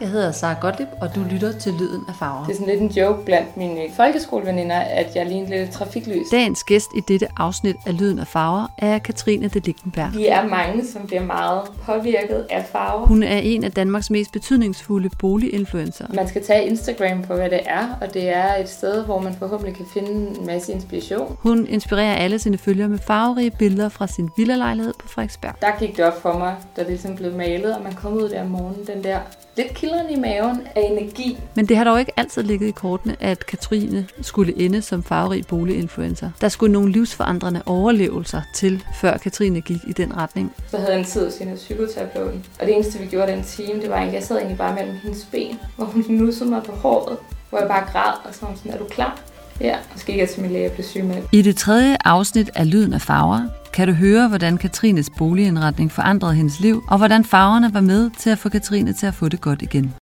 Jeg hedder Sara Gottlieb, og du lytter til Lyden af Farver. Det er sådan lidt en joke blandt mine folkeskoleveninder, at jeg ligner lidt trafiklys. Dagens gæst i dette afsnit af Lyden af Farver er Katrine de Lichtenberg. Vi er mange, som bliver meget påvirket af farver. Hun er en af Danmarks mest betydningsfulde boliginfluencer. Man skal tage Instagram på, hvad det er, og det er et sted, hvor man forhåbentlig kan finde en masse inspiration. Hun inspirerer alle sine følgere med farverige billeder fra sin villalejlighed på Frederiksberg. Der gik det op for mig, da det ligesom blev malet, og man kom ud der om morgenen, den der lidt kilderen i maven af energi. Men det har dog ikke altid ligget i kortene, at Katrine skulle ende som farverig boliginfluencer. Der skulle nogle livsforandrende overlevelser til, før Katrine gik i den retning. Så havde jeg en tid hos hende hos psykoterapeuten, og det eneste, vi gjorde den time, det var egentlig, jeg sad egentlig bare mellem hendes ben, hvor hun nussede mig på håret, hvor jeg bare græd, og så var hun sådan, er du klar? Ja, og så gik jeg til min læge og blev syg med I det tredje afsnit af Lyden af Farver kan du høre, hvordan Katrines boligindretning forandrede hendes liv, og hvordan farverne var med til at få Katrine til at få det godt igen.